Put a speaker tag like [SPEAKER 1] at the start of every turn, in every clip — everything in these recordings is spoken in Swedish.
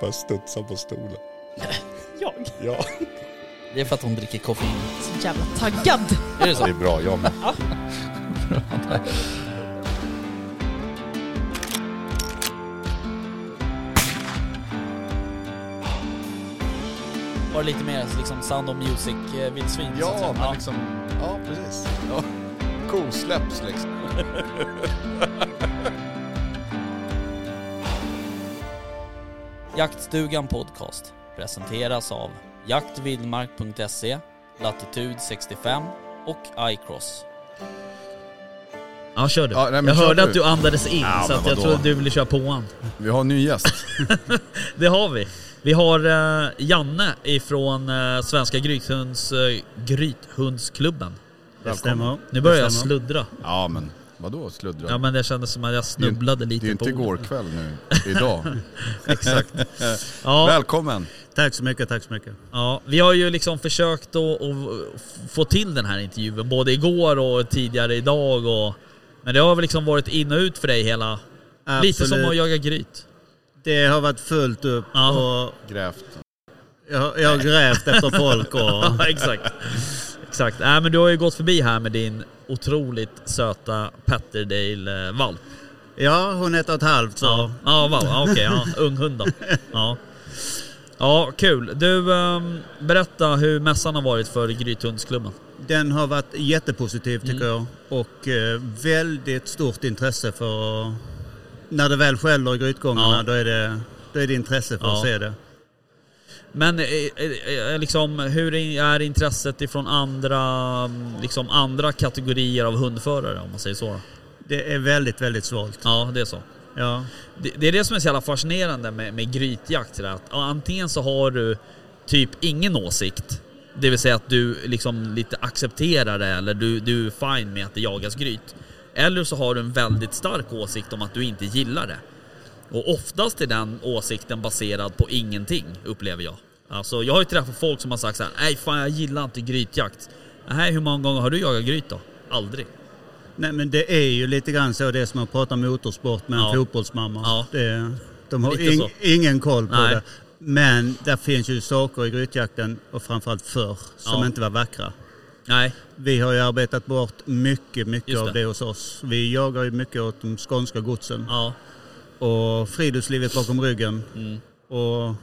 [SPEAKER 1] Bara studsa på stolen.
[SPEAKER 2] Jag?
[SPEAKER 1] Ja.
[SPEAKER 3] Det är för att hon dricker koffein.
[SPEAKER 2] Så jävla taggad.
[SPEAKER 3] Är det
[SPEAKER 1] Det
[SPEAKER 3] så?
[SPEAKER 1] är bra, jag med.
[SPEAKER 3] Var det lite mer liksom Sound of Music-vildsvin? så att säga?
[SPEAKER 1] Ja, men liksom... Ja, precis. Ja. Kosläpps liksom. liksom-
[SPEAKER 3] Jaktstugan Podcast presenteras av jaktvildmark.se, Latitude 65 och iCross.
[SPEAKER 4] Ja, kör du.
[SPEAKER 1] Ja, nej, men
[SPEAKER 4] jag
[SPEAKER 1] kör
[SPEAKER 4] hörde
[SPEAKER 1] du.
[SPEAKER 4] att du andades in
[SPEAKER 1] Ja,
[SPEAKER 4] så
[SPEAKER 1] men
[SPEAKER 4] att jag
[SPEAKER 1] vadå?
[SPEAKER 4] trodde du ville köra på honom.
[SPEAKER 1] Vi har en ny gäst.
[SPEAKER 4] Det har vi. Vi har eh, Janne ifrån eh, Svenska Grythunds, eh, Grythundsklubben.
[SPEAKER 5] Det stämmer.
[SPEAKER 4] Nu börjar jag
[SPEAKER 5] Det stämmer.
[SPEAKER 4] sluddra.
[SPEAKER 1] Ja, men vadå sluddra?
[SPEAKER 4] Ja men det kändes som att jag snubblade
[SPEAKER 1] det är ju
[SPEAKER 4] lite på
[SPEAKER 1] inte igår
[SPEAKER 4] orden.
[SPEAKER 1] kväll nu. Idag.
[SPEAKER 5] Exakt.
[SPEAKER 4] Ja,
[SPEAKER 1] Välkommen.
[SPEAKER 5] Tack så mycket, tack så mycket.
[SPEAKER 4] ja, vi har ju liksom försökt att, att få till den här intervjun både igår och tidigare idag. Och, men det har väl liksom varit in och ut för dig hela... Lite som att
[SPEAKER 5] Absolut.
[SPEAKER 4] jaga gryt.
[SPEAKER 5] Det har varit fullt upp
[SPEAKER 4] Ja.
[SPEAKER 5] och
[SPEAKER 1] Grävt.
[SPEAKER 5] jag, jag har grävt efter folk och...
[SPEAKER 4] Ja, exakt. Exakt. Nej, men du har ju gått förbi här med din otroligt söta eh, Patterdale-valp.
[SPEAKER 5] Ja, hon är ett och ett halvt så.
[SPEAKER 4] Ja, ja, valp. ja okej. Ja, ung hund då. Ja. ja, kul. Du, ehm, berätta hur mässan har varit för Grythundsklubben.
[SPEAKER 5] Den har varit jättepositiv
[SPEAKER 4] Mm.
[SPEAKER 5] tycker jag. Och eh, väldigt stort intresse för... När det väl skäller i grytgångarna
[SPEAKER 4] Ja.
[SPEAKER 5] då, är det, då är det intresse för
[SPEAKER 4] Ja.
[SPEAKER 5] att se det.
[SPEAKER 4] Men eh, eh, eh, liksom, hur är intresset ifrån andra, liksom andra kategorier av hundförare om man säger så? då?
[SPEAKER 5] Det är väldigt, väldigt svalt.
[SPEAKER 4] Ja, det är så.
[SPEAKER 5] Ja.
[SPEAKER 4] Det, det är det som är så jävla fascinerande med, med grytjakt. sådär, Att, ja, antingen så har du typ ingen åsikt, det vill säga att du liksom lite accepterar det eller du, du är fine med att det jagas gryt. Eller så har du en väldigt stark åsikt om att du inte gillar det. Och oftast är den åsikten baserad på ingenting, upplever jag. Alltså, jag har ju träffat folk som har sagt så här: nej fan jag gillar inte grytjakt. Nej, hur många gånger har du jagat gryt då? Aldrig.
[SPEAKER 5] Nej men det är ju lite grann så det är som att prata motorsport med en
[SPEAKER 4] Ja.
[SPEAKER 5] fotbollsmamma.
[SPEAKER 4] Ja.
[SPEAKER 5] Det, de har
[SPEAKER 4] Lite
[SPEAKER 5] ing-
[SPEAKER 4] så.
[SPEAKER 5] ingen koll på
[SPEAKER 4] Nej.
[SPEAKER 5] det. Men där finns ju saker i grytjakten och framförallt förr som
[SPEAKER 4] Ja.
[SPEAKER 5] inte var vackra.
[SPEAKER 4] Nej,
[SPEAKER 5] Vi har ju arbetat bort mycket, mycket
[SPEAKER 4] Just
[SPEAKER 5] av
[SPEAKER 4] det.
[SPEAKER 5] det hos oss. Vi jagar ju mycket åt de skånska godsen
[SPEAKER 4] ja.
[SPEAKER 5] och friluftslivet bakom ryggen.
[SPEAKER 4] Mm.
[SPEAKER 5] Och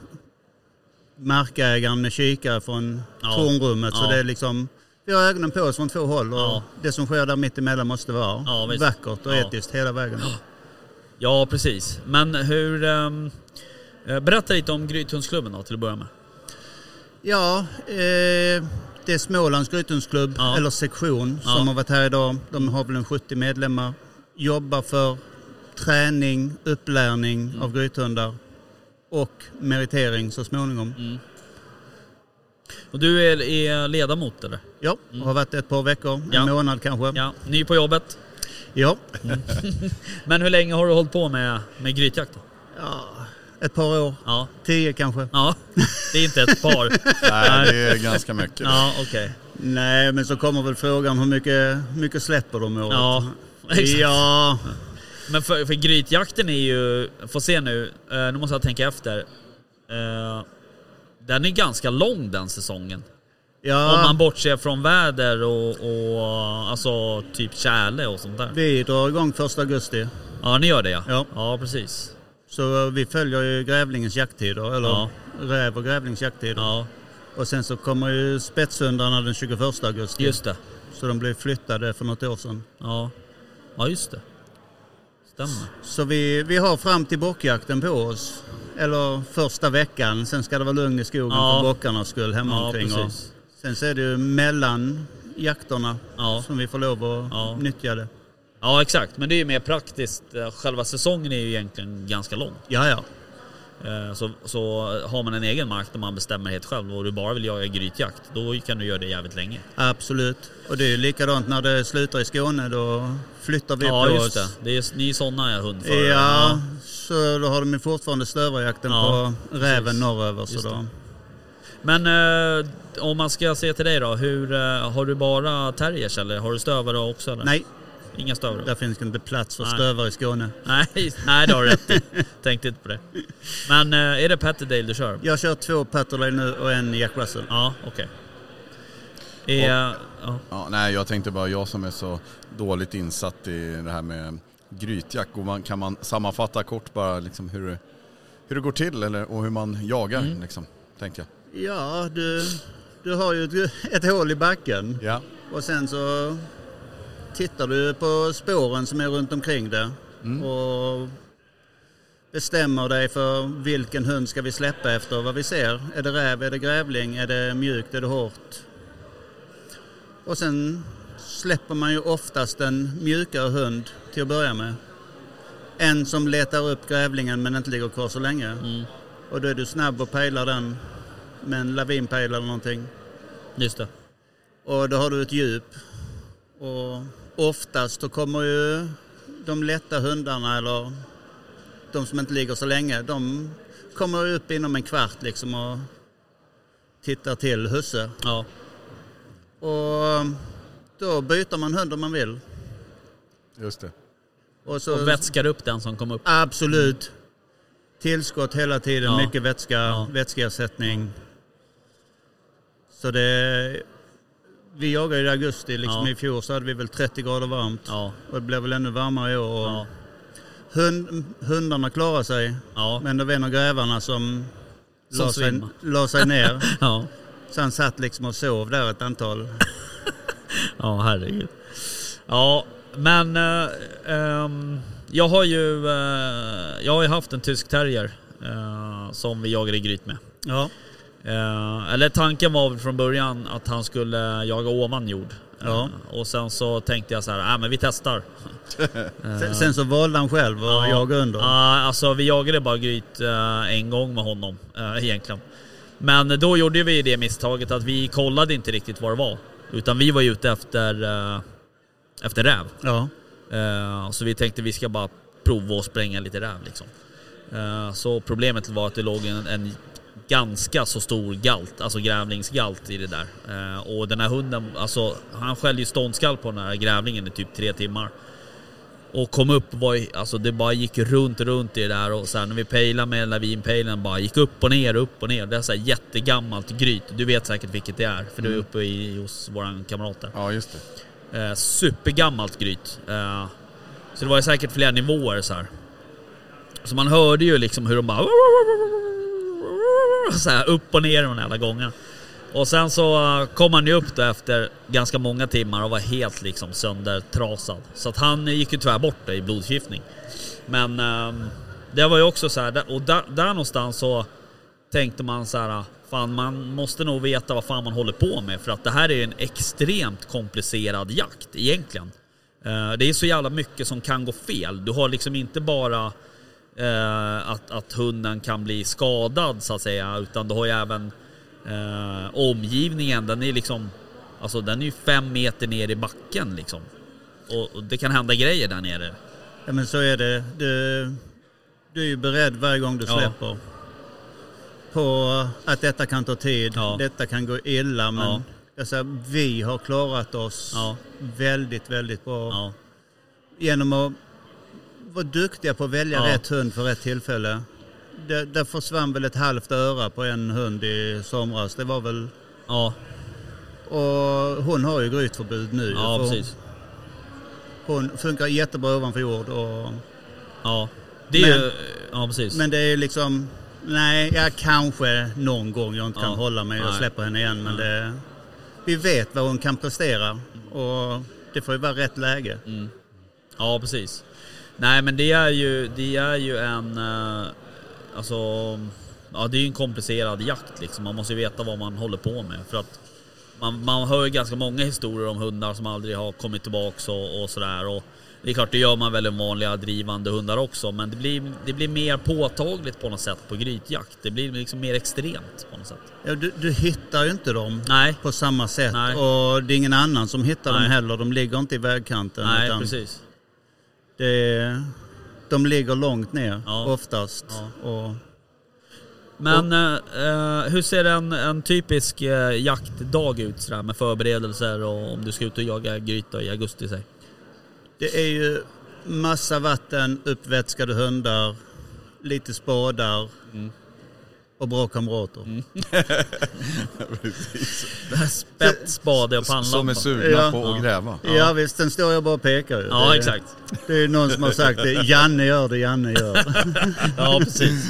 [SPEAKER 5] markägaren med kikare från
[SPEAKER 4] Ja.
[SPEAKER 5] tornrummet.
[SPEAKER 4] Ja.
[SPEAKER 5] Så det är liksom, vi har ögonen på oss från två håll och
[SPEAKER 4] Ja.
[SPEAKER 5] det som sker där mittemellan måste vara
[SPEAKER 4] Ja, visst.
[SPEAKER 5] vackert och
[SPEAKER 4] Ja.
[SPEAKER 5] etiskt hela vägen.
[SPEAKER 4] Ja, precis. Men hur... ehm, eh, berätta lite om Grythundsklubben då, till att börja med.
[SPEAKER 5] Ja, eh, det är Smålands Grythundsklubb,
[SPEAKER 4] Ja.
[SPEAKER 5] eller sektion,
[SPEAKER 4] Ja.
[SPEAKER 5] som har varit här idag. De har väl en 70 medlemmar. Jobbar för träning, upplärning
[SPEAKER 4] Mm.
[SPEAKER 5] av grythundar och meritering så småningom.
[SPEAKER 4] Och du är, är ledamot, eller?
[SPEAKER 5] Ja, har varit ett par veckor, en
[SPEAKER 4] Mm. Ja.
[SPEAKER 5] månad kanske. Ja.
[SPEAKER 4] Ja, ny på jobbet.
[SPEAKER 5] Ja.
[SPEAKER 4] Men hur länge har du hållit på med, med grytjakt då?
[SPEAKER 5] ett par år.
[SPEAKER 4] Ja.
[SPEAKER 5] Tio kanske.
[SPEAKER 4] Ja, det är inte ett par.
[SPEAKER 1] Nej, det är ganska mycket.
[SPEAKER 4] Ja, okej.
[SPEAKER 5] Nej, men så kommer väl frågan hur mycket, hur mycket släpper de i året?
[SPEAKER 4] Ja, exakt.
[SPEAKER 5] ja.
[SPEAKER 4] Men för, för grytjakten är ju... Får se nu. eh, nu måste jag tänka efter. Eh, den är ganska lång den säsongen.
[SPEAKER 5] ja.
[SPEAKER 4] Om man bortser från väder och, och alltså typ tjäle och sånt där.
[SPEAKER 5] Vi drar igång första augusti.
[SPEAKER 4] Ja, ni gör det ja.
[SPEAKER 5] Ja.
[SPEAKER 4] ja precis.
[SPEAKER 5] Så vi följer ju grävlingens jakttider, eller
[SPEAKER 4] Ja.
[SPEAKER 5] räv och grävlings jakttider.
[SPEAKER 4] Ja,
[SPEAKER 5] Och sen så kommer ju spetshundarna den 21 augusti.
[SPEAKER 4] just det.
[SPEAKER 5] Så de blev flyttade för något år sedan.
[SPEAKER 4] Ja, ja just det. Stämmer.
[SPEAKER 5] Så vi, vi har fram till bockjakten på oss. Eller första veckan, sen ska det vara lugn i skogen
[SPEAKER 4] Ja.
[SPEAKER 5] för bockarnas skull hemma
[SPEAKER 4] Ja,
[SPEAKER 5] omkring. Och
[SPEAKER 4] precis.
[SPEAKER 5] sen så är det ju mellan jakterna
[SPEAKER 4] Ja.
[SPEAKER 5] som vi får lov att
[SPEAKER 4] Ja.
[SPEAKER 5] nyttja det.
[SPEAKER 4] Ja, exakt. Men det är ju mer praktiskt. Eh, Själva säsongen är ju egentligen ganska lång.
[SPEAKER 5] Ja, ja.
[SPEAKER 4] Eh, Så, så har man en egen mark där man bestämmer helt själv och du bara vill jaga grytjakt, då kan du göra det jävligt länge.
[SPEAKER 5] Absolut. Och det är ju likadant när det slutar i Skåne, då flyttar vi
[SPEAKER 4] Ja,
[SPEAKER 5] på
[SPEAKER 4] just
[SPEAKER 5] oss.
[SPEAKER 4] det. det är, ni är sådana hundförare.
[SPEAKER 5] Ja, så då har de ju fortfarande stövarjakten
[SPEAKER 4] Ja,
[SPEAKER 5] på räven
[SPEAKER 4] precis.
[SPEAKER 5] norröver.
[SPEAKER 4] Just
[SPEAKER 5] Så då.
[SPEAKER 4] Men eh, om man ska se till dig då, hur, eh, har du bara terriers eller har du stövare också? Eller?
[SPEAKER 5] Nej,
[SPEAKER 4] Inga stövrar.
[SPEAKER 5] Där finns det inte plats för
[SPEAKER 4] Nej.
[SPEAKER 5] stövare i Skåne.
[SPEAKER 4] Nej, just- nej, det har du rätt i. Tänkte inte på det. Men eh, är det Patterdale du kör?
[SPEAKER 5] Jag kör två Patterley nu och en Jack Russell.
[SPEAKER 4] Ja, okej. Eh, ja.
[SPEAKER 1] Ja, nej, jag tänkte bara, jag som är så dåligt insatt i det här med grytjakt, och man, kan man sammanfatta kort bara liksom hur, det- hur det går till eller, och hur man jagar? Liksom, tänkte jag.
[SPEAKER 5] Ja, du, du har ju ett, ett hål i backen.
[SPEAKER 1] Ja.
[SPEAKER 5] Och sen så tittar du på spåren som är runt omkring det. Och bestämmer dig för vilken hund ska vi släppa efter vad vi ser. Är det räv, är det grävling, är det mjukt, är det hårt? Och sen släpper man ju oftast en mjukare hund till att börja med. En som letar upp grävlingen men inte ligger kvar så länge. Och då är du snabb och pejlar den med en lavinpejl eller någonting.
[SPEAKER 4] Just det.
[SPEAKER 5] Och då har du ett djup. Och oftast då kommer ju de lätta hundarna eller de som inte ligger så länge, de kommer ju upp inom en kvart liksom och tittar till husse.
[SPEAKER 4] Ja.
[SPEAKER 5] Och då byter man hund om man vill.
[SPEAKER 1] Just det.
[SPEAKER 5] Och så
[SPEAKER 4] Och vätskar upp den som kom upp.
[SPEAKER 5] absolut tillskott hela tiden,
[SPEAKER 4] Ja.
[SPEAKER 5] mycket vätska, vätskeersättning. Så det... Vi jagade i augusti, liksom
[SPEAKER 4] Ja.
[SPEAKER 5] i fjol så hade vi väl 30 grader varmt.
[SPEAKER 4] Ja.
[SPEAKER 5] Och det blev väl ännu varmare i år. Och
[SPEAKER 4] Ja.
[SPEAKER 5] Hund, hundarna klarade sig.
[SPEAKER 4] Ja.
[SPEAKER 5] Men det var en av grävarna som,
[SPEAKER 4] Som
[SPEAKER 5] la, sig,
[SPEAKER 4] svimmade.
[SPEAKER 5] la sig ner.
[SPEAKER 4] Ja.
[SPEAKER 5] Så han satt liksom och sov där ett antal.
[SPEAKER 4] Ja, herregud. Ja, men eh, ehm, jag har ju eh, jag har ju haft en tysk terrier eh, som vi jagade gryt med.
[SPEAKER 5] Ja.
[SPEAKER 4] Eh, eller tanken var väl från början att han skulle jaga ovan jord.
[SPEAKER 5] Ja.
[SPEAKER 4] Eh, och sen så tänkte jag så här, äh, men vi testar.
[SPEAKER 5] Sen, sen så valde han själv att
[SPEAKER 4] Ja.
[SPEAKER 5] jaga under.
[SPEAKER 4] Ja, alltså vi jagade bara gryt eh, en gång med honom eh, egentligen. Men då gjorde vi det misstaget att vi kollade inte riktigt vad det var. Utan vi var ju ute efter, eh, efter räv.
[SPEAKER 5] Ja.
[SPEAKER 4] Eh, så vi tänkte vi ska bara prova att spränga lite räv liksom. Eh, så problemet var att det låg en, en ganska så stor galt, alltså grävlingsgalt i det där. Eh, och den här hunden, alltså han skällde ju ståndskall på den här grävlingen i typ tre timmar. Och kom upp var ju, alltså det bara gick runt, runt i det där och sen när vi pejlade med lavinpejlen bara gick upp och ner, upp och ner. Det är så här jättegammalt gryt. Du vet säkert vilket det är för du är uppe i, hos våran kamrat där.
[SPEAKER 1] Ja, just det.
[SPEAKER 4] Eh, supergammalt gryt. Eh, så det var ju säkert flera nivåer så här. Så man hörde ju liksom hur de bara... Så här, upp och ner den alla gånger. Och sen så eh, kom han ju upp då efter ganska många timmar och var helt liksom söndertrasad. Så att han gick ju tyvärr bort då i blodförgiftning. Men ehm, det var ju också så här, där- och där, där någonstans så tänkte man så här, fan man måste nog veta vad fan man håller på med för att det här är en extremt komplicerad jakt egentligen. Eh, Det är så jävla mycket som kan gå fel. Du har liksom inte bara eh, att, att hunden kan bli skadad så att säga utan du har ju även eh, omgivningen. Den är liksom, alltså den är ju fem meter ner i backen liksom. Och, och det kan hända grejer där nere.
[SPEAKER 5] ja, men så är det. Du, du är ju beredd varje gång du
[SPEAKER 4] Ja.
[SPEAKER 5] släpper. På att detta kan ta tid,
[SPEAKER 4] Ja.
[SPEAKER 5] detta kan gå illa. Men
[SPEAKER 4] Ja.
[SPEAKER 5] jag säger, vi har klarat oss
[SPEAKER 4] Ja.
[SPEAKER 5] väldigt, väldigt bra.
[SPEAKER 4] Ja,
[SPEAKER 5] genom att vara duktiga på att välja
[SPEAKER 4] Ja.
[SPEAKER 5] rätt hund för rätt tillfälle. Det, där försvann väl ett halvt öra på en hund i somras. Det var väl...
[SPEAKER 4] ja,
[SPEAKER 5] Och hon har ju grytförbud nu.
[SPEAKER 4] ja
[SPEAKER 5] för
[SPEAKER 4] precis.
[SPEAKER 5] Hon funkar jättebra ovanför jord. Och,
[SPEAKER 4] Ja, det är
[SPEAKER 5] Men-
[SPEAKER 4] ju... Ja, precis.
[SPEAKER 5] men det är ju liksom... Nej, jag kanske någon gång jag inte kan
[SPEAKER 4] Ja.
[SPEAKER 5] hålla mig och
[SPEAKER 4] Nej.
[SPEAKER 5] släpper henne igen. Men det, vi vet vad hon kan prestera. Och det får ju vara rätt läge.
[SPEAKER 4] Mm. Ja, precis. Nej, men det är ju, det är ju en... eh, Alltså... Ja, det är ju en komplicerad jakt liksom. Man måste ju veta vad man håller på med. För att man, man hör ju ganska många historier om hundar som aldrig har kommit tillbaks och, och sådär. Och det är klart, det gör man väl om vanliga drivande hundar också. Men det blir, det blir mer påtagligt på något sätt på grytjakt. Det blir liksom mer extremt på något sätt.
[SPEAKER 5] Ja, du, du hittar ju inte dem.
[SPEAKER 4] Nej,
[SPEAKER 5] på samma sätt.
[SPEAKER 4] Nej.
[SPEAKER 5] Och det är ingen annan som hittar dem
[SPEAKER 4] Nej.
[SPEAKER 5] heller. De ligger inte i vägkanten.
[SPEAKER 4] nej
[SPEAKER 5] utan
[SPEAKER 4] precis.
[SPEAKER 5] Det är, de ligger långt ner
[SPEAKER 4] Ja.
[SPEAKER 5] oftast. Och
[SPEAKER 4] Men eh, eh, hur ser en, en typisk eh, jaktdag ut sådär, med förberedelser och om du ska ut och jaga gryta i augusti? Säg.
[SPEAKER 5] Det är ju massa vatten, uppvätskade hundar, lite spadar
[SPEAKER 4] Mm.
[SPEAKER 5] och bra kamrater.
[SPEAKER 4] Spett, spade och
[SPEAKER 1] Som är
[SPEAKER 4] pannlampa.
[SPEAKER 1] sugna
[SPEAKER 5] Ja.
[SPEAKER 1] på att gräva.
[SPEAKER 5] Ja. visst, sen står jag bara och pekar ju.
[SPEAKER 4] Ja,
[SPEAKER 5] Det-
[SPEAKER 4] exakt.
[SPEAKER 5] Det är ju någon som har sagt det. Janne gör det, Janne gör det.
[SPEAKER 4] Ja, precis.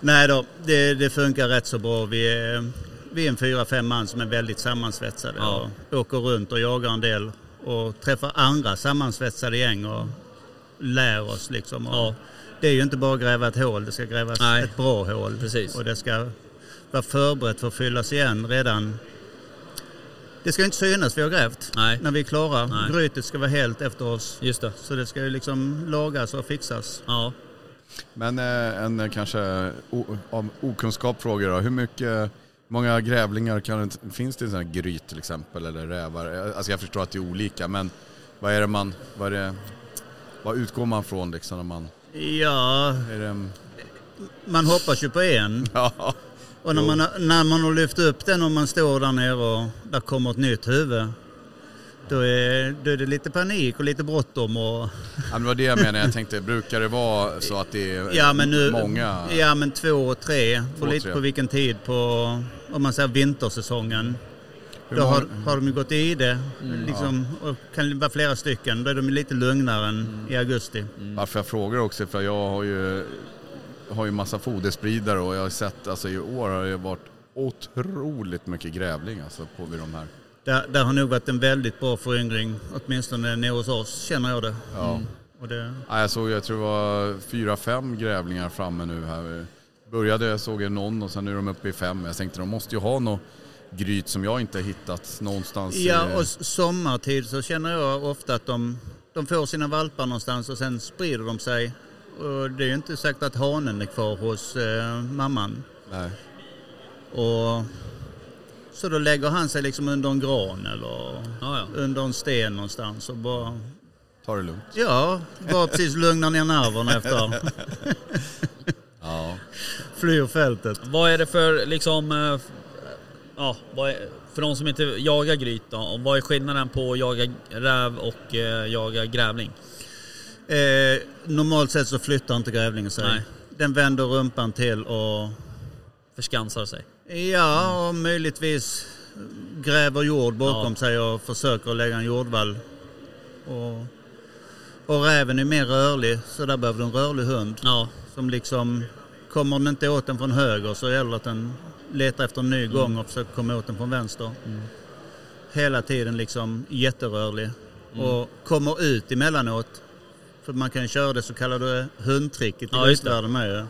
[SPEAKER 5] Nej då, det, det funkar rätt så bra. Vi är, vi är en fyra, fem man som är väldigt sammansvetsade.
[SPEAKER 4] Ja.
[SPEAKER 5] Och åker runt och jagar en del och träffar andra sammansvetsade gäng och lär oss liksom. Och
[SPEAKER 4] Ja.
[SPEAKER 5] Det är ju inte bara att gräva ett hål, det ska grävas
[SPEAKER 4] Nej.
[SPEAKER 5] ett bra hål.
[SPEAKER 4] Precis.
[SPEAKER 5] Och det ska vara förberett för att fyllas igen redan. Det ska ju inte synas vi har grävt
[SPEAKER 4] Nej.
[SPEAKER 5] när vi är klara.
[SPEAKER 4] Nej.
[SPEAKER 5] Grytet ska vara helt efter oss.
[SPEAKER 4] Just det.
[SPEAKER 5] Så det ska ju liksom lagas och fixas.
[SPEAKER 4] Ja.
[SPEAKER 1] Men eh, en eh, kanske o- av okunskap fråga då. Hur mycket, många grävlingar kan, det- finns det i sådana här gryt till exempel eller rävar? Eh, Alltså jag förstår att det är olika men vad är det man, vad, är det, vad utgår man från liksom när man,
[SPEAKER 5] Ja,
[SPEAKER 1] är det en,
[SPEAKER 5] man hoppas ju på en.
[SPEAKER 1] ja.
[SPEAKER 5] Och när man, har- när man har lyft upp den och man står där nere och där kommer ett nytt huvud. Då är, då är det lite panik och lite bråttom. Och,
[SPEAKER 1] Ja, men det var det jag menade, jag tänkte brukar det vara så att det är
[SPEAKER 5] ja, men nu,
[SPEAKER 1] många?
[SPEAKER 5] Ja men två och tre.
[SPEAKER 1] Två
[SPEAKER 5] Två,
[SPEAKER 1] och
[SPEAKER 5] lite
[SPEAKER 1] tre.
[SPEAKER 5] på vilken tid på, om man säger vintersäsongen.
[SPEAKER 1] Hur
[SPEAKER 5] Då
[SPEAKER 1] många- Mm,
[SPEAKER 5] har, har de ju gått i det. liksom, och kan vara flera stycken. Då är de lite lugnare än
[SPEAKER 1] Mm.
[SPEAKER 5] i augusti.
[SPEAKER 1] Varför jag frågar också, för jag har ju, har ju massa foderspridare och jag har sett, alltså i år har det varit otroligt mycket grävling alltså på vid de här.
[SPEAKER 5] Där, där har nog varit en väldigt bra föryngring. Åtminstone nere hos oss känner jag det.
[SPEAKER 1] Ja.
[SPEAKER 5] Och det
[SPEAKER 1] Ja, jag såg, jag tror det var fyra, fem grävlingar framme nu här. Började jag såg jag någon och sen nu är de uppe i fem. Jag tänkte de måste ju ha något gryt som jag inte hittat någonstans. i-
[SPEAKER 5] Ja, och s- sommartid så känner jag ofta att de, de får sina valpar någonstans och sen sprider de sig. Och det är ju inte säkert att hanen är kvar hos eh, mamman.
[SPEAKER 1] Nej.
[SPEAKER 5] Och, så då lägger han sig liksom under en gran eller
[SPEAKER 4] Ja, ja.
[SPEAKER 5] under en sten någonstans och bara,
[SPEAKER 1] Ta det lugnt.
[SPEAKER 5] ja, bara precis lugnar ner nerverna efter.
[SPEAKER 1] Ja.
[SPEAKER 5] Flyr fältet.
[SPEAKER 4] Vad är det för liksom... eh, f- Ja, vad är, för de som inte jagar gryt då, och vad är skillnaden på att jaga räv och eh, jaga grävling?
[SPEAKER 5] Eh, normalt sett så flyttar inte grävlingen sig.
[SPEAKER 4] Nej.
[SPEAKER 5] Den vänder rumpan till och
[SPEAKER 4] Förskansar sig.
[SPEAKER 5] Ja, och möjligtvis gräver jord bakom
[SPEAKER 4] Ja.
[SPEAKER 5] sig och försöker att lägga en jordvall. Och, och räven är mer rörlig, så där behöver du en rörlig hund.
[SPEAKER 4] Ja,
[SPEAKER 5] Som liksom, kommer den inte åt den från höger så gäller det att den letar efter en ny
[SPEAKER 4] Mm.
[SPEAKER 5] gång och försöker komma åt den från vänster. Hela tiden liksom jätterörlig.
[SPEAKER 4] Mm.
[SPEAKER 5] Och kommer ut emellanåt. För man kan ju köra det så kallade hundtricket i
[SPEAKER 4] Ja, just det.
[SPEAKER 5] ryttvärlden med ju.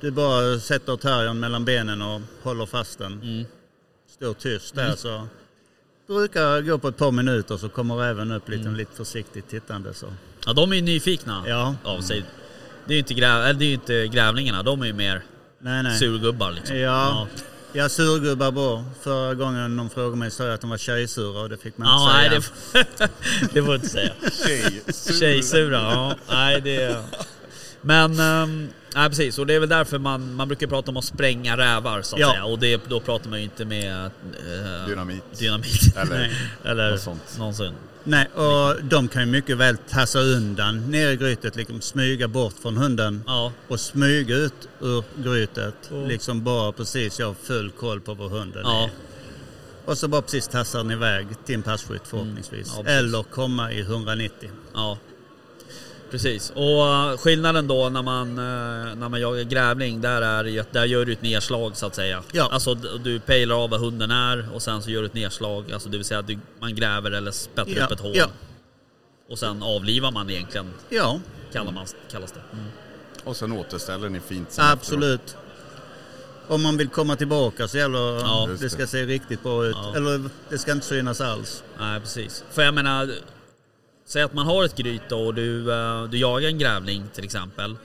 [SPEAKER 5] Du bara sätter terriern mellan benen och håller fast den.
[SPEAKER 4] Mm.
[SPEAKER 5] Står tyst där så. Brukar gå på ett par minuter så kommer även upp lite,
[SPEAKER 4] Mm.
[SPEAKER 5] lite försiktigt tittande så.
[SPEAKER 4] ja de är ju nyfikna
[SPEAKER 5] Ja.
[SPEAKER 4] av sig. Det är ju inte, gräv, eller det är ju inte grävlingarna, de är ju mer
[SPEAKER 5] Nej, nej.
[SPEAKER 4] surgubbar liksom.
[SPEAKER 5] Ja. Ja, surgubbar bra. Förra gången någon frågade mig sa jag att de var tjejsura och det fick man
[SPEAKER 4] Ja, nej,
[SPEAKER 5] inte
[SPEAKER 4] det,
[SPEAKER 5] säga.
[SPEAKER 4] det får jag inte säga.
[SPEAKER 1] Tjej,
[SPEAKER 4] Tjejsura, ja. Nej, det... Men, ehm, nej precis. Och det är väl därför man, man brukar prata om att spränga rävar så att
[SPEAKER 5] Ja.
[SPEAKER 4] säga. Och det, då pratar man ju inte med eh,
[SPEAKER 1] Dynamit.
[SPEAKER 4] dynamit.
[SPEAKER 1] Eller
[SPEAKER 4] Eller
[SPEAKER 1] något sånt.
[SPEAKER 4] någonsin.
[SPEAKER 5] Nej, och de kan ju mycket väl tassa undan ner i grytet, liksom smyga bort från hunden
[SPEAKER 4] Ja,
[SPEAKER 5] och smyga ut ur grytet. Liksom bara precis, jag har full koll på var hunden
[SPEAKER 4] ja,
[SPEAKER 5] är. Och så bara precis tassar den iväg till en passkytt förhoppningsvis.
[SPEAKER 4] Ja, precis.
[SPEAKER 5] Eller komma i 190.
[SPEAKER 4] ja. Precis. Och eh, skillnaden då när man, eh, när man jagar grävling, där är det ju att där gör du ett nedslag så att säga.
[SPEAKER 5] Ja.
[SPEAKER 4] Alltså d- du pejlar av vad hunden är och sen så gör du ett nedslag. Alltså det vill säga att du, man gräver eller spettar upp ett hål.
[SPEAKER 5] ja,
[SPEAKER 4] Och sen avlivar man egentligen,
[SPEAKER 5] ja
[SPEAKER 4] kallar man, kallas det.
[SPEAKER 1] Och sen återställer ni fint sen
[SPEAKER 5] absolut. Om man vill komma tillbaka så gäller
[SPEAKER 4] Ja,
[SPEAKER 1] just
[SPEAKER 5] det ska se riktigt bra ut.
[SPEAKER 4] Ja.
[SPEAKER 5] Eller det ska inte synas alls.
[SPEAKER 4] Nej precis. För jag menar, säg att man har ett gryt då och du, eh, du jagar en grävling till exempel.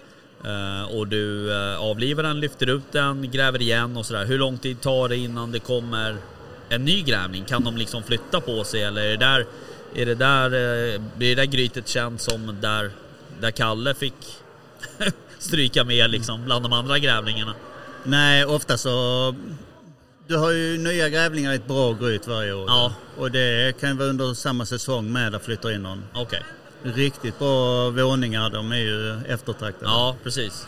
[SPEAKER 4] Eh, Och du eh, avlivar den, lyfter ut den, gräver igen och sådär. Hur lång tid tar det innan det kommer en ny grävling? Kan de liksom flytta på sig eller är det där, är det där, eh, blir det där grytet känt som där, där Kalle fick stryka med liksom bland de andra grävlingarna?
[SPEAKER 5] Nej, ofta så... Du har ju nya grävlingar i ett bra gryt varje år.
[SPEAKER 4] Ja.
[SPEAKER 5] Och det kan ju vara under samma säsong med att flytta in någon.
[SPEAKER 4] Okej.
[SPEAKER 5] Riktigt bra våningar, de är ju eftertraktade.
[SPEAKER 4] Ja, precis.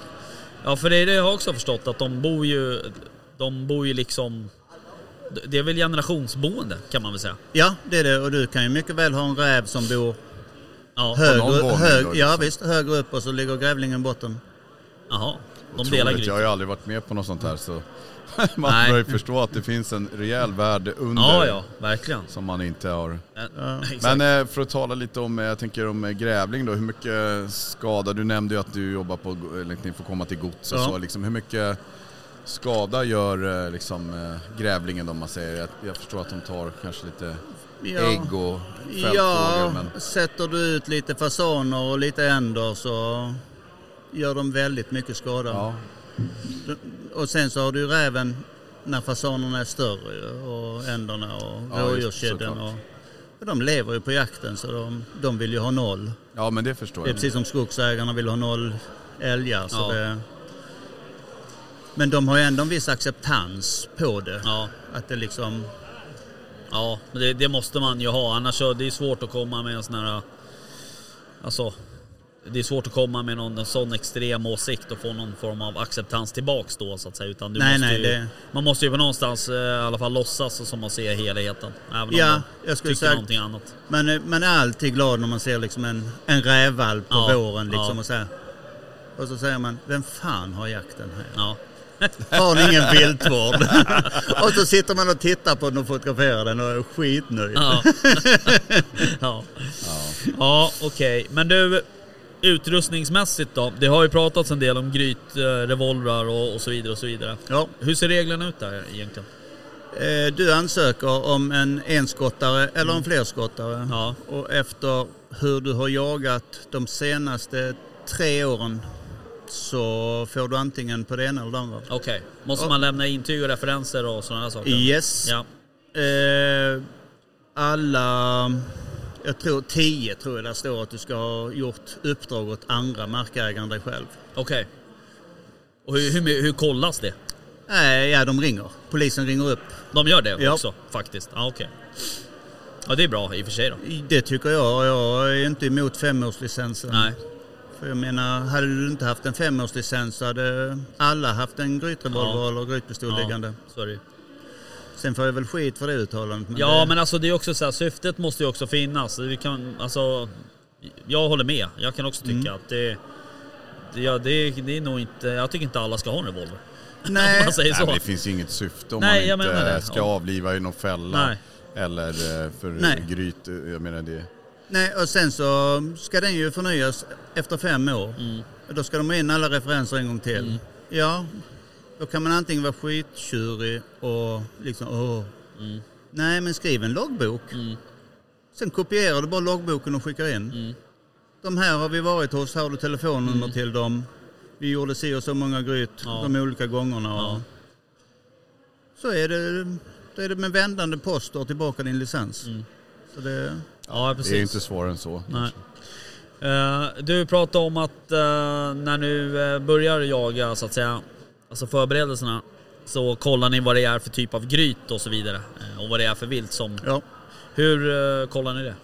[SPEAKER 4] Ja, för det är det jag har också förstått att de bor ju, de bor ju liksom, det är väl generationsboende kan man väl säga.
[SPEAKER 5] Ja, det är det. Och du kan ju mycket väl ha en räv som bor
[SPEAKER 4] Ja,
[SPEAKER 1] någon
[SPEAKER 5] högre,
[SPEAKER 1] våning
[SPEAKER 5] hög,
[SPEAKER 1] då, liksom.
[SPEAKER 5] ja, visst, högre upp och så ligger grävlingen i botten.
[SPEAKER 4] jaha. De
[SPEAKER 1] Otroligt.
[SPEAKER 4] delar
[SPEAKER 1] Jag har
[SPEAKER 4] grytor.
[SPEAKER 1] ju aldrig varit med på något sånt här så man
[SPEAKER 4] Nej.
[SPEAKER 1] börjar ju förstå att det finns en rejäl värld under
[SPEAKER 4] Ja, ja, verkligen.
[SPEAKER 1] som man inte har.
[SPEAKER 4] Men, exakt.
[SPEAKER 1] Men eh, för att tala lite om, eh, jag tänker om eh, grävling då, hur mycket skada, du nämnde ju att du jobbar på, eller att ni får komma till gods och
[SPEAKER 5] Ja.
[SPEAKER 1] så, liksom, hur mycket skada gör eh, liksom, eh, grävlingen om man säger? Jag, jag förstår att de tar kanske lite
[SPEAKER 5] Ja.
[SPEAKER 1] ägg och fältfågel
[SPEAKER 5] Ja,
[SPEAKER 1] men
[SPEAKER 5] sätter du ut lite fasaner och lite änder så gör de väldigt mycket skada.
[SPEAKER 1] ja,
[SPEAKER 5] Och sen så har du ju räven när fasanerna är större ju, och änderna och
[SPEAKER 1] Ja, just-
[SPEAKER 5] rådjurskedjan.
[SPEAKER 1] såklart.
[SPEAKER 5] och- och de lever ju på jakten så de, de vill ju ha noll.
[SPEAKER 1] ja men det förstår
[SPEAKER 5] Det är
[SPEAKER 1] jag.
[SPEAKER 5] precis som skogsägarna vill ha noll älgar. Så
[SPEAKER 4] Ja.
[SPEAKER 5] det, men de har ju ändå en viss acceptans på det.
[SPEAKER 4] Ja,
[SPEAKER 5] Att det liksom...
[SPEAKER 4] ja men det, det måste man ju ha annars så det är svårt att komma med en sån här, alltså det är svårt att komma med någon en sån extrem åsikt och få någon form av acceptans tillbaks då så att säga. Utan du
[SPEAKER 5] Nej,
[SPEAKER 4] måste
[SPEAKER 5] nej,
[SPEAKER 4] ju,
[SPEAKER 5] det-
[SPEAKER 4] Man måste ju på någonstans eh, i alla fall låtsas som man ser helheten. Även
[SPEAKER 5] Ja,
[SPEAKER 4] om man
[SPEAKER 5] jag skulle
[SPEAKER 4] tycker
[SPEAKER 5] säga-
[SPEAKER 4] någonting annat.
[SPEAKER 5] Man är, man eh, är alltid glad när man ser liksom en, en rävvalp på
[SPEAKER 4] Ja,
[SPEAKER 5] våren. Liksom,
[SPEAKER 4] ja.
[SPEAKER 5] och, så här. och så säger man, vem fan har jakten här?
[SPEAKER 4] Ja.
[SPEAKER 5] Har ni ingen viltvård? och så sitter man och tittar på den och fotograferar den och är skitnöjd.
[SPEAKER 4] Ja, ja. ja okej. Men du, utrustningsmässigt då? Det har ju pratats en del om gryt, eh, revolvrar och, och så vidare och så vidare.
[SPEAKER 5] Ja.
[SPEAKER 4] Hur ser reglerna ut där egentligen?
[SPEAKER 5] Eh, Du ansöker om en enskottare eller en flerskottare.
[SPEAKER 4] Mm. Ja.
[SPEAKER 5] Och efter hur du har jagat de senaste tre åren så får du antingen på det ena eller det andra.
[SPEAKER 4] Okej. Måste man lämna intyg och referenser och sådana här saker?
[SPEAKER 5] Yes.
[SPEAKER 4] Ja.
[SPEAKER 5] Eh, alla, jag tror tio tror jag där står att du ska ha gjort uppdrag åt andra markägare än dig själv.
[SPEAKER 4] Okej. Och hur, hur, hur kollas det?
[SPEAKER 5] Nej, ja de ringer. Polisen ringer upp.
[SPEAKER 4] De gör det
[SPEAKER 5] Ja.
[SPEAKER 4] också faktiskt? Ja, okej. Ja, det är bra i och för sig då.
[SPEAKER 5] Det tycker jag. Jag är inte emot femårslicensen.
[SPEAKER 4] Nej.
[SPEAKER 5] För jag menar, hade du inte haft en femårslicens så hade alla haft en grytrevolver
[SPEAKER 4] Ja.
[SPEAKER 5] eller grytpistol liggande.
[SPEAKER 4] Ja, sorry.
[SPEAKER 5] Sen får jag väl skit för det uttalandet. Men
[SPEAKER 4] Ja
[SPEAKER 5] det,
[SPEAKER 4] men alltså det är också så här, syftet måste ju också finnas. Vi kan, alltså, jag håller med, jag kan också tycka att det, det, ja, det, det är nog inte, jag tycker inte alla ska ha en revolver. Om
[SPEAKER 5] Nej,
[SPEAKER 4] man säger
[SPEAKER 1] Nej, men
[SPEAKER 4] så.
[SPEAKER 1] det finns ju inget syfte om
[SPEAKER 4] Nej, jag
[SPEAKER 1] man inte
[SPEAKER 4] menar det.
[SPEAKER 1] ska
[SPEAKER 4] Ja.
[SPEAKER 1] avliva i någon fälla
[SPEAKER 4] Nej.
[SPEAKER 1] eller eh, för
[SPEAKER 5] Nej.
[SPEAKER 1] gryt, eh, jag menar det.
[SPEAKER 5] nej, och sen så ska den ju förnyas efter fem år.
[SPEAKER 4] Mm.
[SPEAKER 5] Då ska de ha in alla referenser en gång till. Ja, då kan man antingen vara skittjurig och liksom åh.
[SPEAKER 4] Mm.
[SPEAKER 5] Nej, men skriv en loggbok. Sen kopierar du bara loggboken och skickar in.
[SPEAKER 4] Mm.
[SPEAKER 5] De här har vi varit hos, här har du telefonnummer till dem. Vi gjorde si och så många gryt
[SPEAKER 4] Ja.
[SPEAKER 5] de olika gångerna.
[SPEAKER 4] Ja.
[SPEAKER 5] Så är det, då är det med vändande post och tillbaka din licens.
[SPEAKER 4] Mm.
[SPEAKER 5] Så det,
[SPEAKER 4] Ja
[SPEAKER 1] Det är ju
[SPEAKER 4] precis.
[SPEAKER 1] inte svårare än så.
[SPEAKER 4] Nej. Eh, du pratade om att eh, när du eh, börjar jaga så att säga, alltså förberedelserna, så kollar ni vad det är för typ av gryt och så vidare. eh, och vad det är för vilt som,
[SPEAKER 5] ja.
[SPEAKER 4] hur eh, kollar ni det?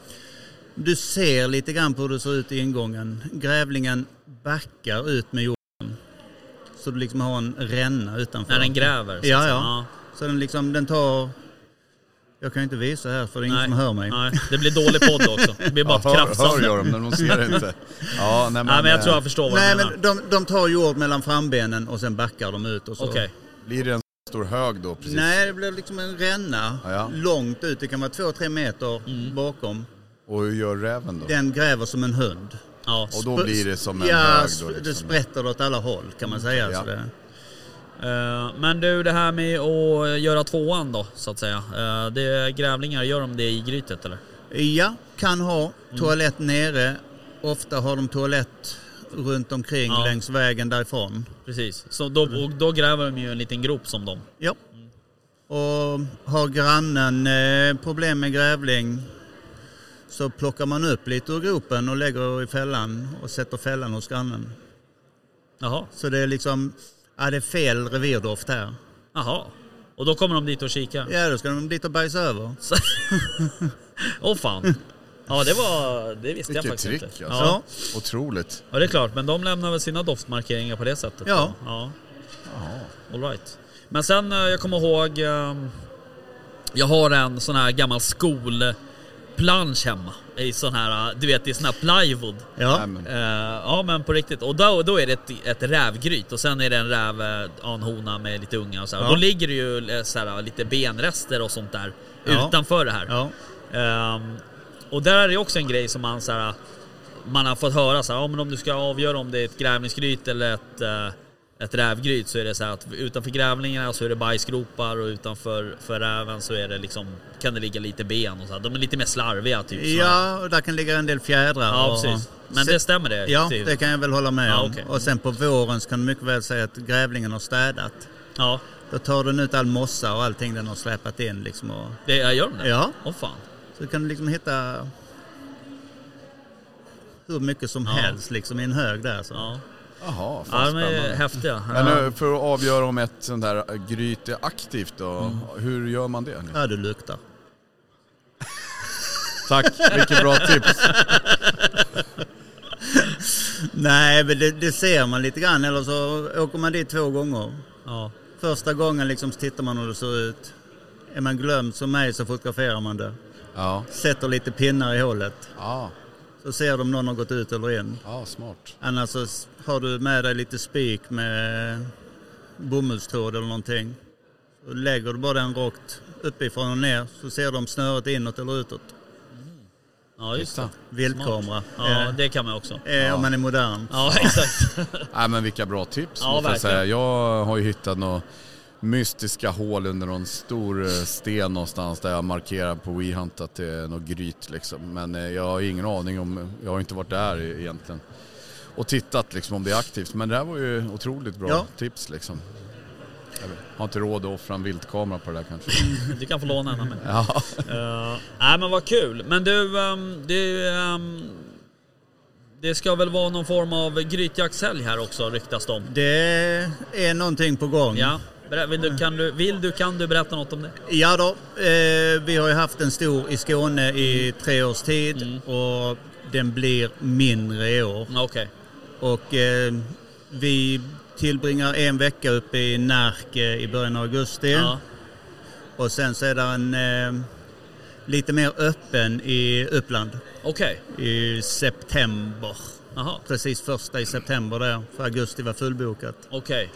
[SPEAKER 5] Du ser lite grann på hur det ser ut i ingången. Grävlingen backar ut med jorden. Så du liksom har en ränna utanför.
[SPEAKER 4] När den gräver? så att
[SPEAKER 5] Ja,
[SPEAKER 4] säga.
[SPEAKER 5] ja. Så den liksom, den tar... Jag kan ju inte visa här för det är ingen som hör mig.
[SPEAKER 4] Nej, det blir dålig podd också. Det blir bara
[SPEAKER 1] Ja, hör, hör
[SPEAKER 4] krafsande.
[SPEAKER 1] jag dem, men de ser det inte. Ja, nej, men,
[SPEAKER 4] Nej men jag
[SPEAKER 1] eh,
[SPEAKER 4] tror jag förstår vad
[SPEAKER 5] Nej
[SPEAKER 4] du menar.
[SPEAKER 5] men de, de tar jord mellan frambenen och sen backar de ut och så.
[SPEAKER 4] Okej.
[SPEAKER 1] Blir det en stor hög då precis?
[SPEAKER 5] Nej, det blir liksom en ränna
[SPEAKER 1] Ja, ja.
[SPEAKER 5] långt ut. Det kan vara två, tre meter
[SPEAKER 4] Mm.
[SPEAKER 5] bakom.
[SPEAKER 1] Och hur gör räven då?
[SPEAKER 5] Den gräver som en hund.
[SPEAKER 4] Ja.
[SPEAKER 1] Och då blir det som en
[SPEAKER 5] ja,
[SPEAKER 1] hög
[SPEAKER 5] sp-
[SPEAKER 1] då
[SPEAKER 5] det
[SPEAKER 1] liksom. Mm,
[SPEAKER 5] sprätter åt alla håll kan man säga.
[SPEAKER 1] Ja.
[SPEAKER 5] Så det,
[SPEAKER 4] Eh, men du det här med att göra tvåan då så att säga. Eh, det är grävlingar, gör de det i grytet eller?
[SPEAKER 5] ja, kan ha toalett nere. Ofta har de toalett runt omkring
[SPEAKER 4] Ja.
[SPEAKER 5] längs vägen därifrån.
[SPEAKER 4] Precis. Så då,
[SPEAKER 1] Mm.
[SPEAKER 4] och då gräver de ju en liten grop som de.
[SPEAKER 5] Ja.
[SPEAKER 4] Mm.
[SPEAKER 5] Och har grannen eh, problem med grävling så plockar man upp lite ur gropen och lägger i fällan och sätter fällan hos grannen.
[SPEAKER 4] Jaha.
[SPEAKER 5] Så det är liksom, ja det är fel revirdoft här.
[SPEAKER 4] Jaha. Och då kommer de dit och kikar.
[SPEAKER 5] Ja, då ska de dit och bajsa över.
[SPEAKER 4] Åh fan. Ja, det var... Det visste jag
[SPEAKER 1] Vilket
[SPEAKER 4] faktiskt
[SPEAKER 1] trick
[SPEAKER 4] inte.
[SPEAKER 1] alltså.
[SPEAKER 4] Ja.
[SPEAKER 1] Otroligt.
[SPEAKER 4] ja, det är klart. Men de lämnar väl sina doftmarkeringar på det sättet.
[SPEAKER 5] Ja.
[SPEAKER 4] då. ja. All right. Men sen, eh, jag kommer ihåg... ehm, Jag har en sån här gammal skolplansch hemma. I sån här, eh, du vet, i sån här plywood.
[SPEAKER 1] Nej,
[SPEAKER 5] Ja.
[SPEAKER 1] men,
[SPEAKER 4] Eh, ja men på riktigt. Och då, då är det ett, ett rävgryt och sen är det en räv, eh, ja, en hona med lite unga och så här.
[SPEAKER 5] Ja.
[SPEAKER 4] Då ligger det ju eh, så här, lite benrester och sånt där
[SPEAKER 5] Ja.
[SPEAKER 4] utanför det här.
[SPEAKER 5] ja.
[SPEAKER 4] Ehm, och där är det också en grej som man så här, man har fått höra så här, ja, men om du ska avgöra om det är ett grävlingsgryt eller ett, eh, ett rävgryt så är det så här att utanför grävlingarna så är det bajsgropar och utanför för räven så är det liksom, kan det ligga lite ben och så här. De är lite mer slarviga typ. så här.
[SPEAKER 5] Ja, och där kan ligga en del fjädrar.
[SPEAKER 4] ja
[SPEAKER 5] och-
[SPEAKER 4] precis. Men
[SPEAKER 5] Se-
[SPEAKER 4] det stämmer det? Typ.
[SPEAKER 5] Ja,
[SPEAKER 4] till-
[SPEAKER 5] det kan jag väl hålla med
[SPEAKER 4] Ja,
[SPEAKER 5] om.
[SPEAKER 4] okej.
[SPEAKER 5] Och sen på våren så kan du mycket väl säga att grävlingen har städat.
[SPEAKER 4] Ja,
[SPEAKER 5] Då tar den ut all mossa och allting den har släpat in liksom. Och,
[SPEAKER 4] det jag gör de det?
[SPEAKER 5] Ja.
[SPEAKER 4] Åh fan.
[SPEAKER 5] så kan du liksom hitta hur mycket som
[SPEAKER 4] Ja.
[SPEAKER 5] helst liksom i en hög där. Så.
[SPEAKER 4] Ja,
[SPEAKER 1] jaha, fan
[SPEAKER 4] ja eh, de är
[SPEAKER 1] spännande.
[SPEAKER 4] häftiga.
[SPEAKER 1] Men
[SPEAKER 4] Ja.
[SPEAKER 1] nu, för att avgöra om ett sånt här gryt är aktivt då,
[SPEAKER 4] Mm.
[SPEAKER 1] hur gör man det?
[SPEAKER 5] Ja, du luktar.
[SPEAKER 1] Tack, vilket bra tips.
[SPEAKER 5] Nej, men det, det ser man lite grann. Eller så åker man dit två gånger.
[SPEAKER 4] Ja.
[SPEAKER 5] Första gången liksom så tittar man hur det ser ut. Är man glömd som mig så fotograferar man det.
[SPEAKER 1] Ja,
[SPEAKER 5] Sätter lite pinnar i hålet.
[SPEAKER 1] ja,
[SPEAKER 5] Så ser de om någon har gått ut eller in.
[SPEAKER 1] ja smart.
[SPEAKER 5] Annars så s- har du med dig lite spik med bomullstråd eller någonting. Så lägger du bara den rakt uppifrån och ner så ser de snöret inåt eller utåt.
[SPEAKER 4] Mm. ja, just det.
[SPEAKER 5] Viltkamera.
[SPEAKER 4] Ja,
[SPEAKER 5] eh,
[SPEAKER 4] det kan man också.
[SPEAKER 5] eh, Om man är modern.
[SPEAKER 4] Ja, exakt.
[SPEAKER 1] Nej men vilka bra tips
[SPEAKER 4] Ja,
[SPEAKER 1] måste jag
[SPEAKER 4] verkligen.
[SPEAKER 1] säga. Jag har ju hittat några mystiska hål under någon stor eh, sten någonstans där jag markerar på WeHunt att det är något gryt liksom. Men eh, jag har ingen aning om, jag har inte varit där e- egentligen. Och tittat liksom om det är aktivt. Men det här var ju otroligt bra
[SPEAKER 5] Ja.
[SPEAKER 1] tips liksom. Jag har inte råd att offra en viltkamera på det där kanske.
[SPEAKER 4] Du kan få låna en av mig.
[SPEAKER 1] Ja.
[SPEAKER 4] Eh, Nej men vad kul. Men du, ehm, du ehm, det ska väl vara någon form av grytjaktshelg här också ryktas det om.
[SPEAKER 5] Det är någonting på
[SPEAKER 1] Mm.
[SPEAKER 5] gång.
[SPEAKER 4] Ja, Berä- vill du, kan du, vill du, kan du berätta något om det?
[SPEAKER 5] Ja då, eh, vi har ju haft en stor i Skåne i tre års tid
[SPEAKER 4] Mm.
[SPEAKER 5] och den blir mindre i år.
[SPEAKER 4] Okej.
[SPEAKER 5] Och eh, vi tillbringar en vecka uppe i Närke i början av augusti.
[SPEAKER 4] Ja.
[SPEAKER 5] Och sen så är det en eh, lite mer öppen i Uppland
[SPEAKER 4] Okej.
[SPEAKER 5] i september.
[SPEAKER 4] Jaha.
[SPEAKER 5] Precis första i september där, för augusti var fullbokat.
[SPEAKER 4] Okej.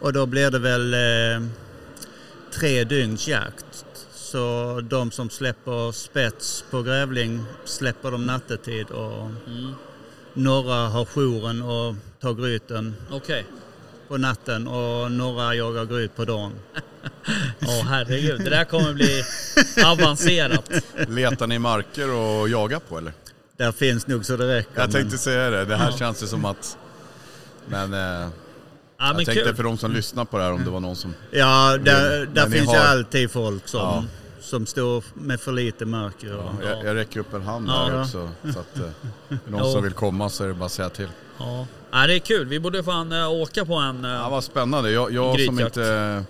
[SPEAKER 5] Och då blir det väl eh, tre dygns jakt. Så de som släpper spets på grävling släpper de nattetid och några har jouren och tar gryten
[SPEAKER 4] Okej.
[SPEAKER 5] på natten och några jagar gryt på dagen.
[SPEAKER 4] Åh herregud, det där kommer bli avancerat.
[SPEAKER 1] Letar ni marker och jagar på eller?
[SPEAKER 5] Där finns nog så det räcker.
[SPEAKER 1] Jag tänkte säga det, det här känns ju som att... Men, eh,
[SPEAKER 4] Ja, men
[SPEAKER 1] jag tänkte
[SPEAKER 4] kul.
[SPEAKER 1] för de som lyssnar på det här om det var någon som...
[SPEAKER 5] men, ja, där,
[SPEAKER 1] Men
[SPEAKER 5] där
[SPEAKER 1] ni
[SPEAKER 5] finns ju
[SPEAKER 1] har-
[SPEAKER 5] alltid folk som,
[SPEAKER 1] Ja.
[SPEAKER 5] som står med för lite mörker. Och,
[SPEAKER 1] Ja, Jag, jag räcker upp en hand
[SPEAKER 4] Ja.
[SPEAKER 1] här också. Så att, eh, är det någon
[SPEAKER 4] Jo.
[SPEAKER 1] som vill komma så är det bara att säga till.
[SPEAKER 4] Ja. ja, det är kul. Vi borde fan eh, åka på en... eh,
[SPEAKER 1] Ja, vad spännande. Jag, jag som
[SPEAKER 4] Grytjakt.
[SPEAKER 1] inte... eh,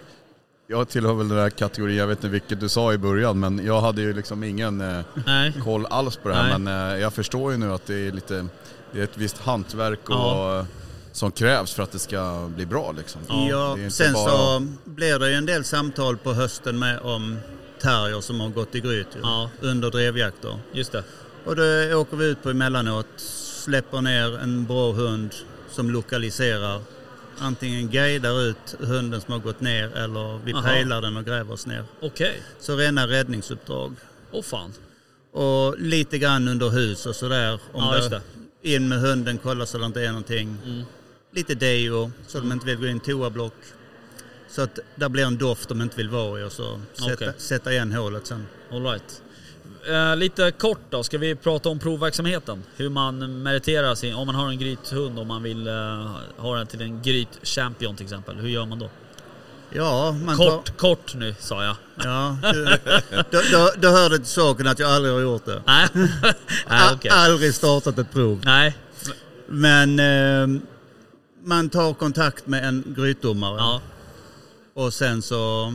[SPEAKER 1] Jag tillhör väl den där kategorin, jag vet inte vilket du sa i början, men jag hade ju liksom ingen eh,
[SPEAKER 4] Nej.
[SPEAKER 1] koll alls på det här.
[SPEAKER 4] Nej.
[SPEAKER 1] Men eh, jag förstår ju nu att det är lite... Det är ett visst hantverk och, eh,
[SPEAKER 4] Ja.
[SPEAKER 1] som krävs för att det ska bli bra liksom.
[SPEAKER 5] Ja,
[SPEAKER 1] Det är inte
[SPEAKER 5] sen
[SPEAKER 1] bara-
[SPEAKER 5] så blir det ju en del samtal på hösten med om terrier som har gått i gryt ju,
[SPEAKER 4] Ja.
[SPEAKER 5] under drevjakter.
[SPEAKER 4] Just det.
[SPEAKER 5] Och då åker vi ut på emellanåt, släpper ner en bra hund som lokaliserar. Antingen guidar ut hunden som har gått ner eller vi
[SPEAKER 4] Aha.
[SPEAKER 5] pejlar den och gräver oss ner.
[SPEAKER 4] Okej.
[SPEAKER 5] Så rena räddningsuppdrag.
[SPEAKER 4] Åh fan.
[SPEAKER 5] Och lite grann under hus och sådär. Om
[SPEAKER 4] Ja, just det. Mm.
[SPEAKER 5] In med hunden, kolla så det inte är någonting. Lite deo, så de inte vill gå in i toablock. Så att där blir en doft de inte vill vara i och så sätta,
[SPEAKER 4] Okej.
[SPEAKER 5] sätta igen hålet sen.
[SPEAKER 4] All right. Eh, lite kort då, ska vi prata om provverksamheten? Hur man meriterar sin, om man har en grythund och man vill eh, ha den till en grytchampion till exempel. Hur gör man då?
[SPEAKER 5] Ja, man
[SPEAKER 4] Kort, kort nu sa jag.
[SPEAKER 5] Tar, ja, du, då, då, då hör det till saken att jag aldrig har gjort det.
[SPEAKER 4] Nej, Nej Ah, okej.
[SPEAKER 5] A- Aldrig startat ett prov.
[SPEAKER 4] Nej,
[SPEAKER 5] Men eh, man tar kontakt med en grytdomare.
[SPEAKER 4] ja.
[SPEAKER 5] Och sen så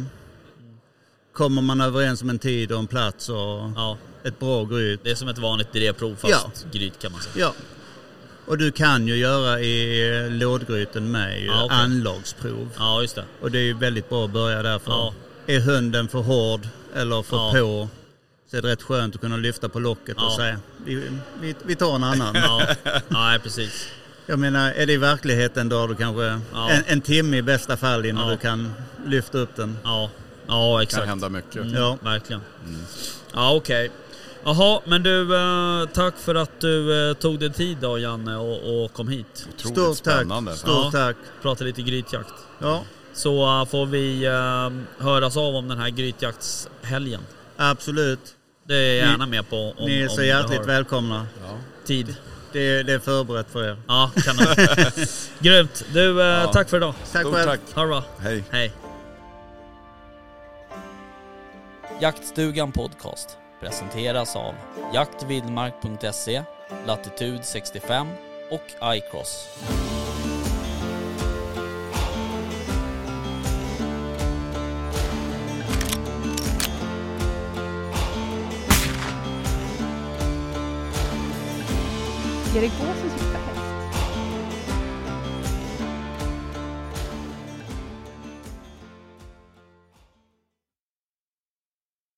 [SPEAKER 5] kommer man överens om en tid och en plats och
[SPEAKER 4] ja.
[SPEAKER 5] ett bra gryt.
[SPEAKER 4] Det är som ett vanligt idéprov fast gryt kan man säga.
[SPEAKER 5] Ja. Och du kan ju göra i lådgryten med ju
[SPEAKER 4] Ja, okej.
[SPEAKER 5] anlagsprov.
[SPEAKER 4] Ja, just det.
[SPEAKER 5] Och det är ju väldigt bra att börja därför.
[SPEAKER 4] Ja.
[SPEAKER 5] Är hunden för hård eller för
[SPEAKER 4] Ja.
[SPEAKER 5] på så är det rätt skönt att kunna lyfta på locket och
[SPEAKER 4] Ja.
[SPEAKER 5] säga vi, vi, vi tar en annan.
[SPEAKER 4] Ja, nej precis.
[SPEAKER 5] Jag menar, är det i verkligheten då har du kanske
[SPEAKER 4] Ja.
[SPEAKER 5] en, en timme i bästa fall innan
[SPEAKER 4] Ja.
[SPEAKER 5] du kan lyfta upp den.
[SPEAKER 4] Ja, ja
[SPEAKER 1] kan
[SPEAKER 4] exakt.
[SPEAKER 1] hända mycket.
[SPEAKER 5] Ja.
[SPEAKER 4] Verkligen. Ja, okej. Jaha, men du, eh, tack för att du eh, tog dig tid då Janne och, och kom hit.
[SPEAKER 1] Otroligt
[SPEAKER 5] Stort tack.
[SPEAKER 1] spännande.
[SPEAKER 5] Stort
[SPEAKER 4] Ja.
[SPEAKER 5] tack.
[SPEAKER 4] Prata lite grytjakt.
[SPEAKER 5] Ja,
[SPEAKER 4] Så eh, får vi uh, höras av om den här grytjaktshelgen.
[SPEAKER 5] absolut.
[SPEAKER 4] Det är jag gärna med på om,
[SPEAKER 5] Ni är
[SPEAKER 4] om
[SPEAKER 5] så
[SPEAKER 4] du
[SPEAKER 5] hjärtligt
[SPEAKER 4] har
[SPEAKER 5] välkomna.
[SPEAKER 4] tid.
[SPEAKER 5] Det, det är förberett för er.
[SPEAKER 4] Ja, kanon. Grymt. Du, eh, tack för idag.
[SPEAKER 5] Tack
[SPEAKER 1] Stort
[SPEAKER 5] själv.
[SPEAKER 1] tack.
[SPEAKER 4] Ha det bra.
[SPEAKER 1] Hej.
[SPEAKER 4] Hej.
[SPEAKER 3] Jaktstugan Podcast presenteras av jaktvildmark.se, Latitude 65 och iCross.
[SPEAKER 2] Erik Båsen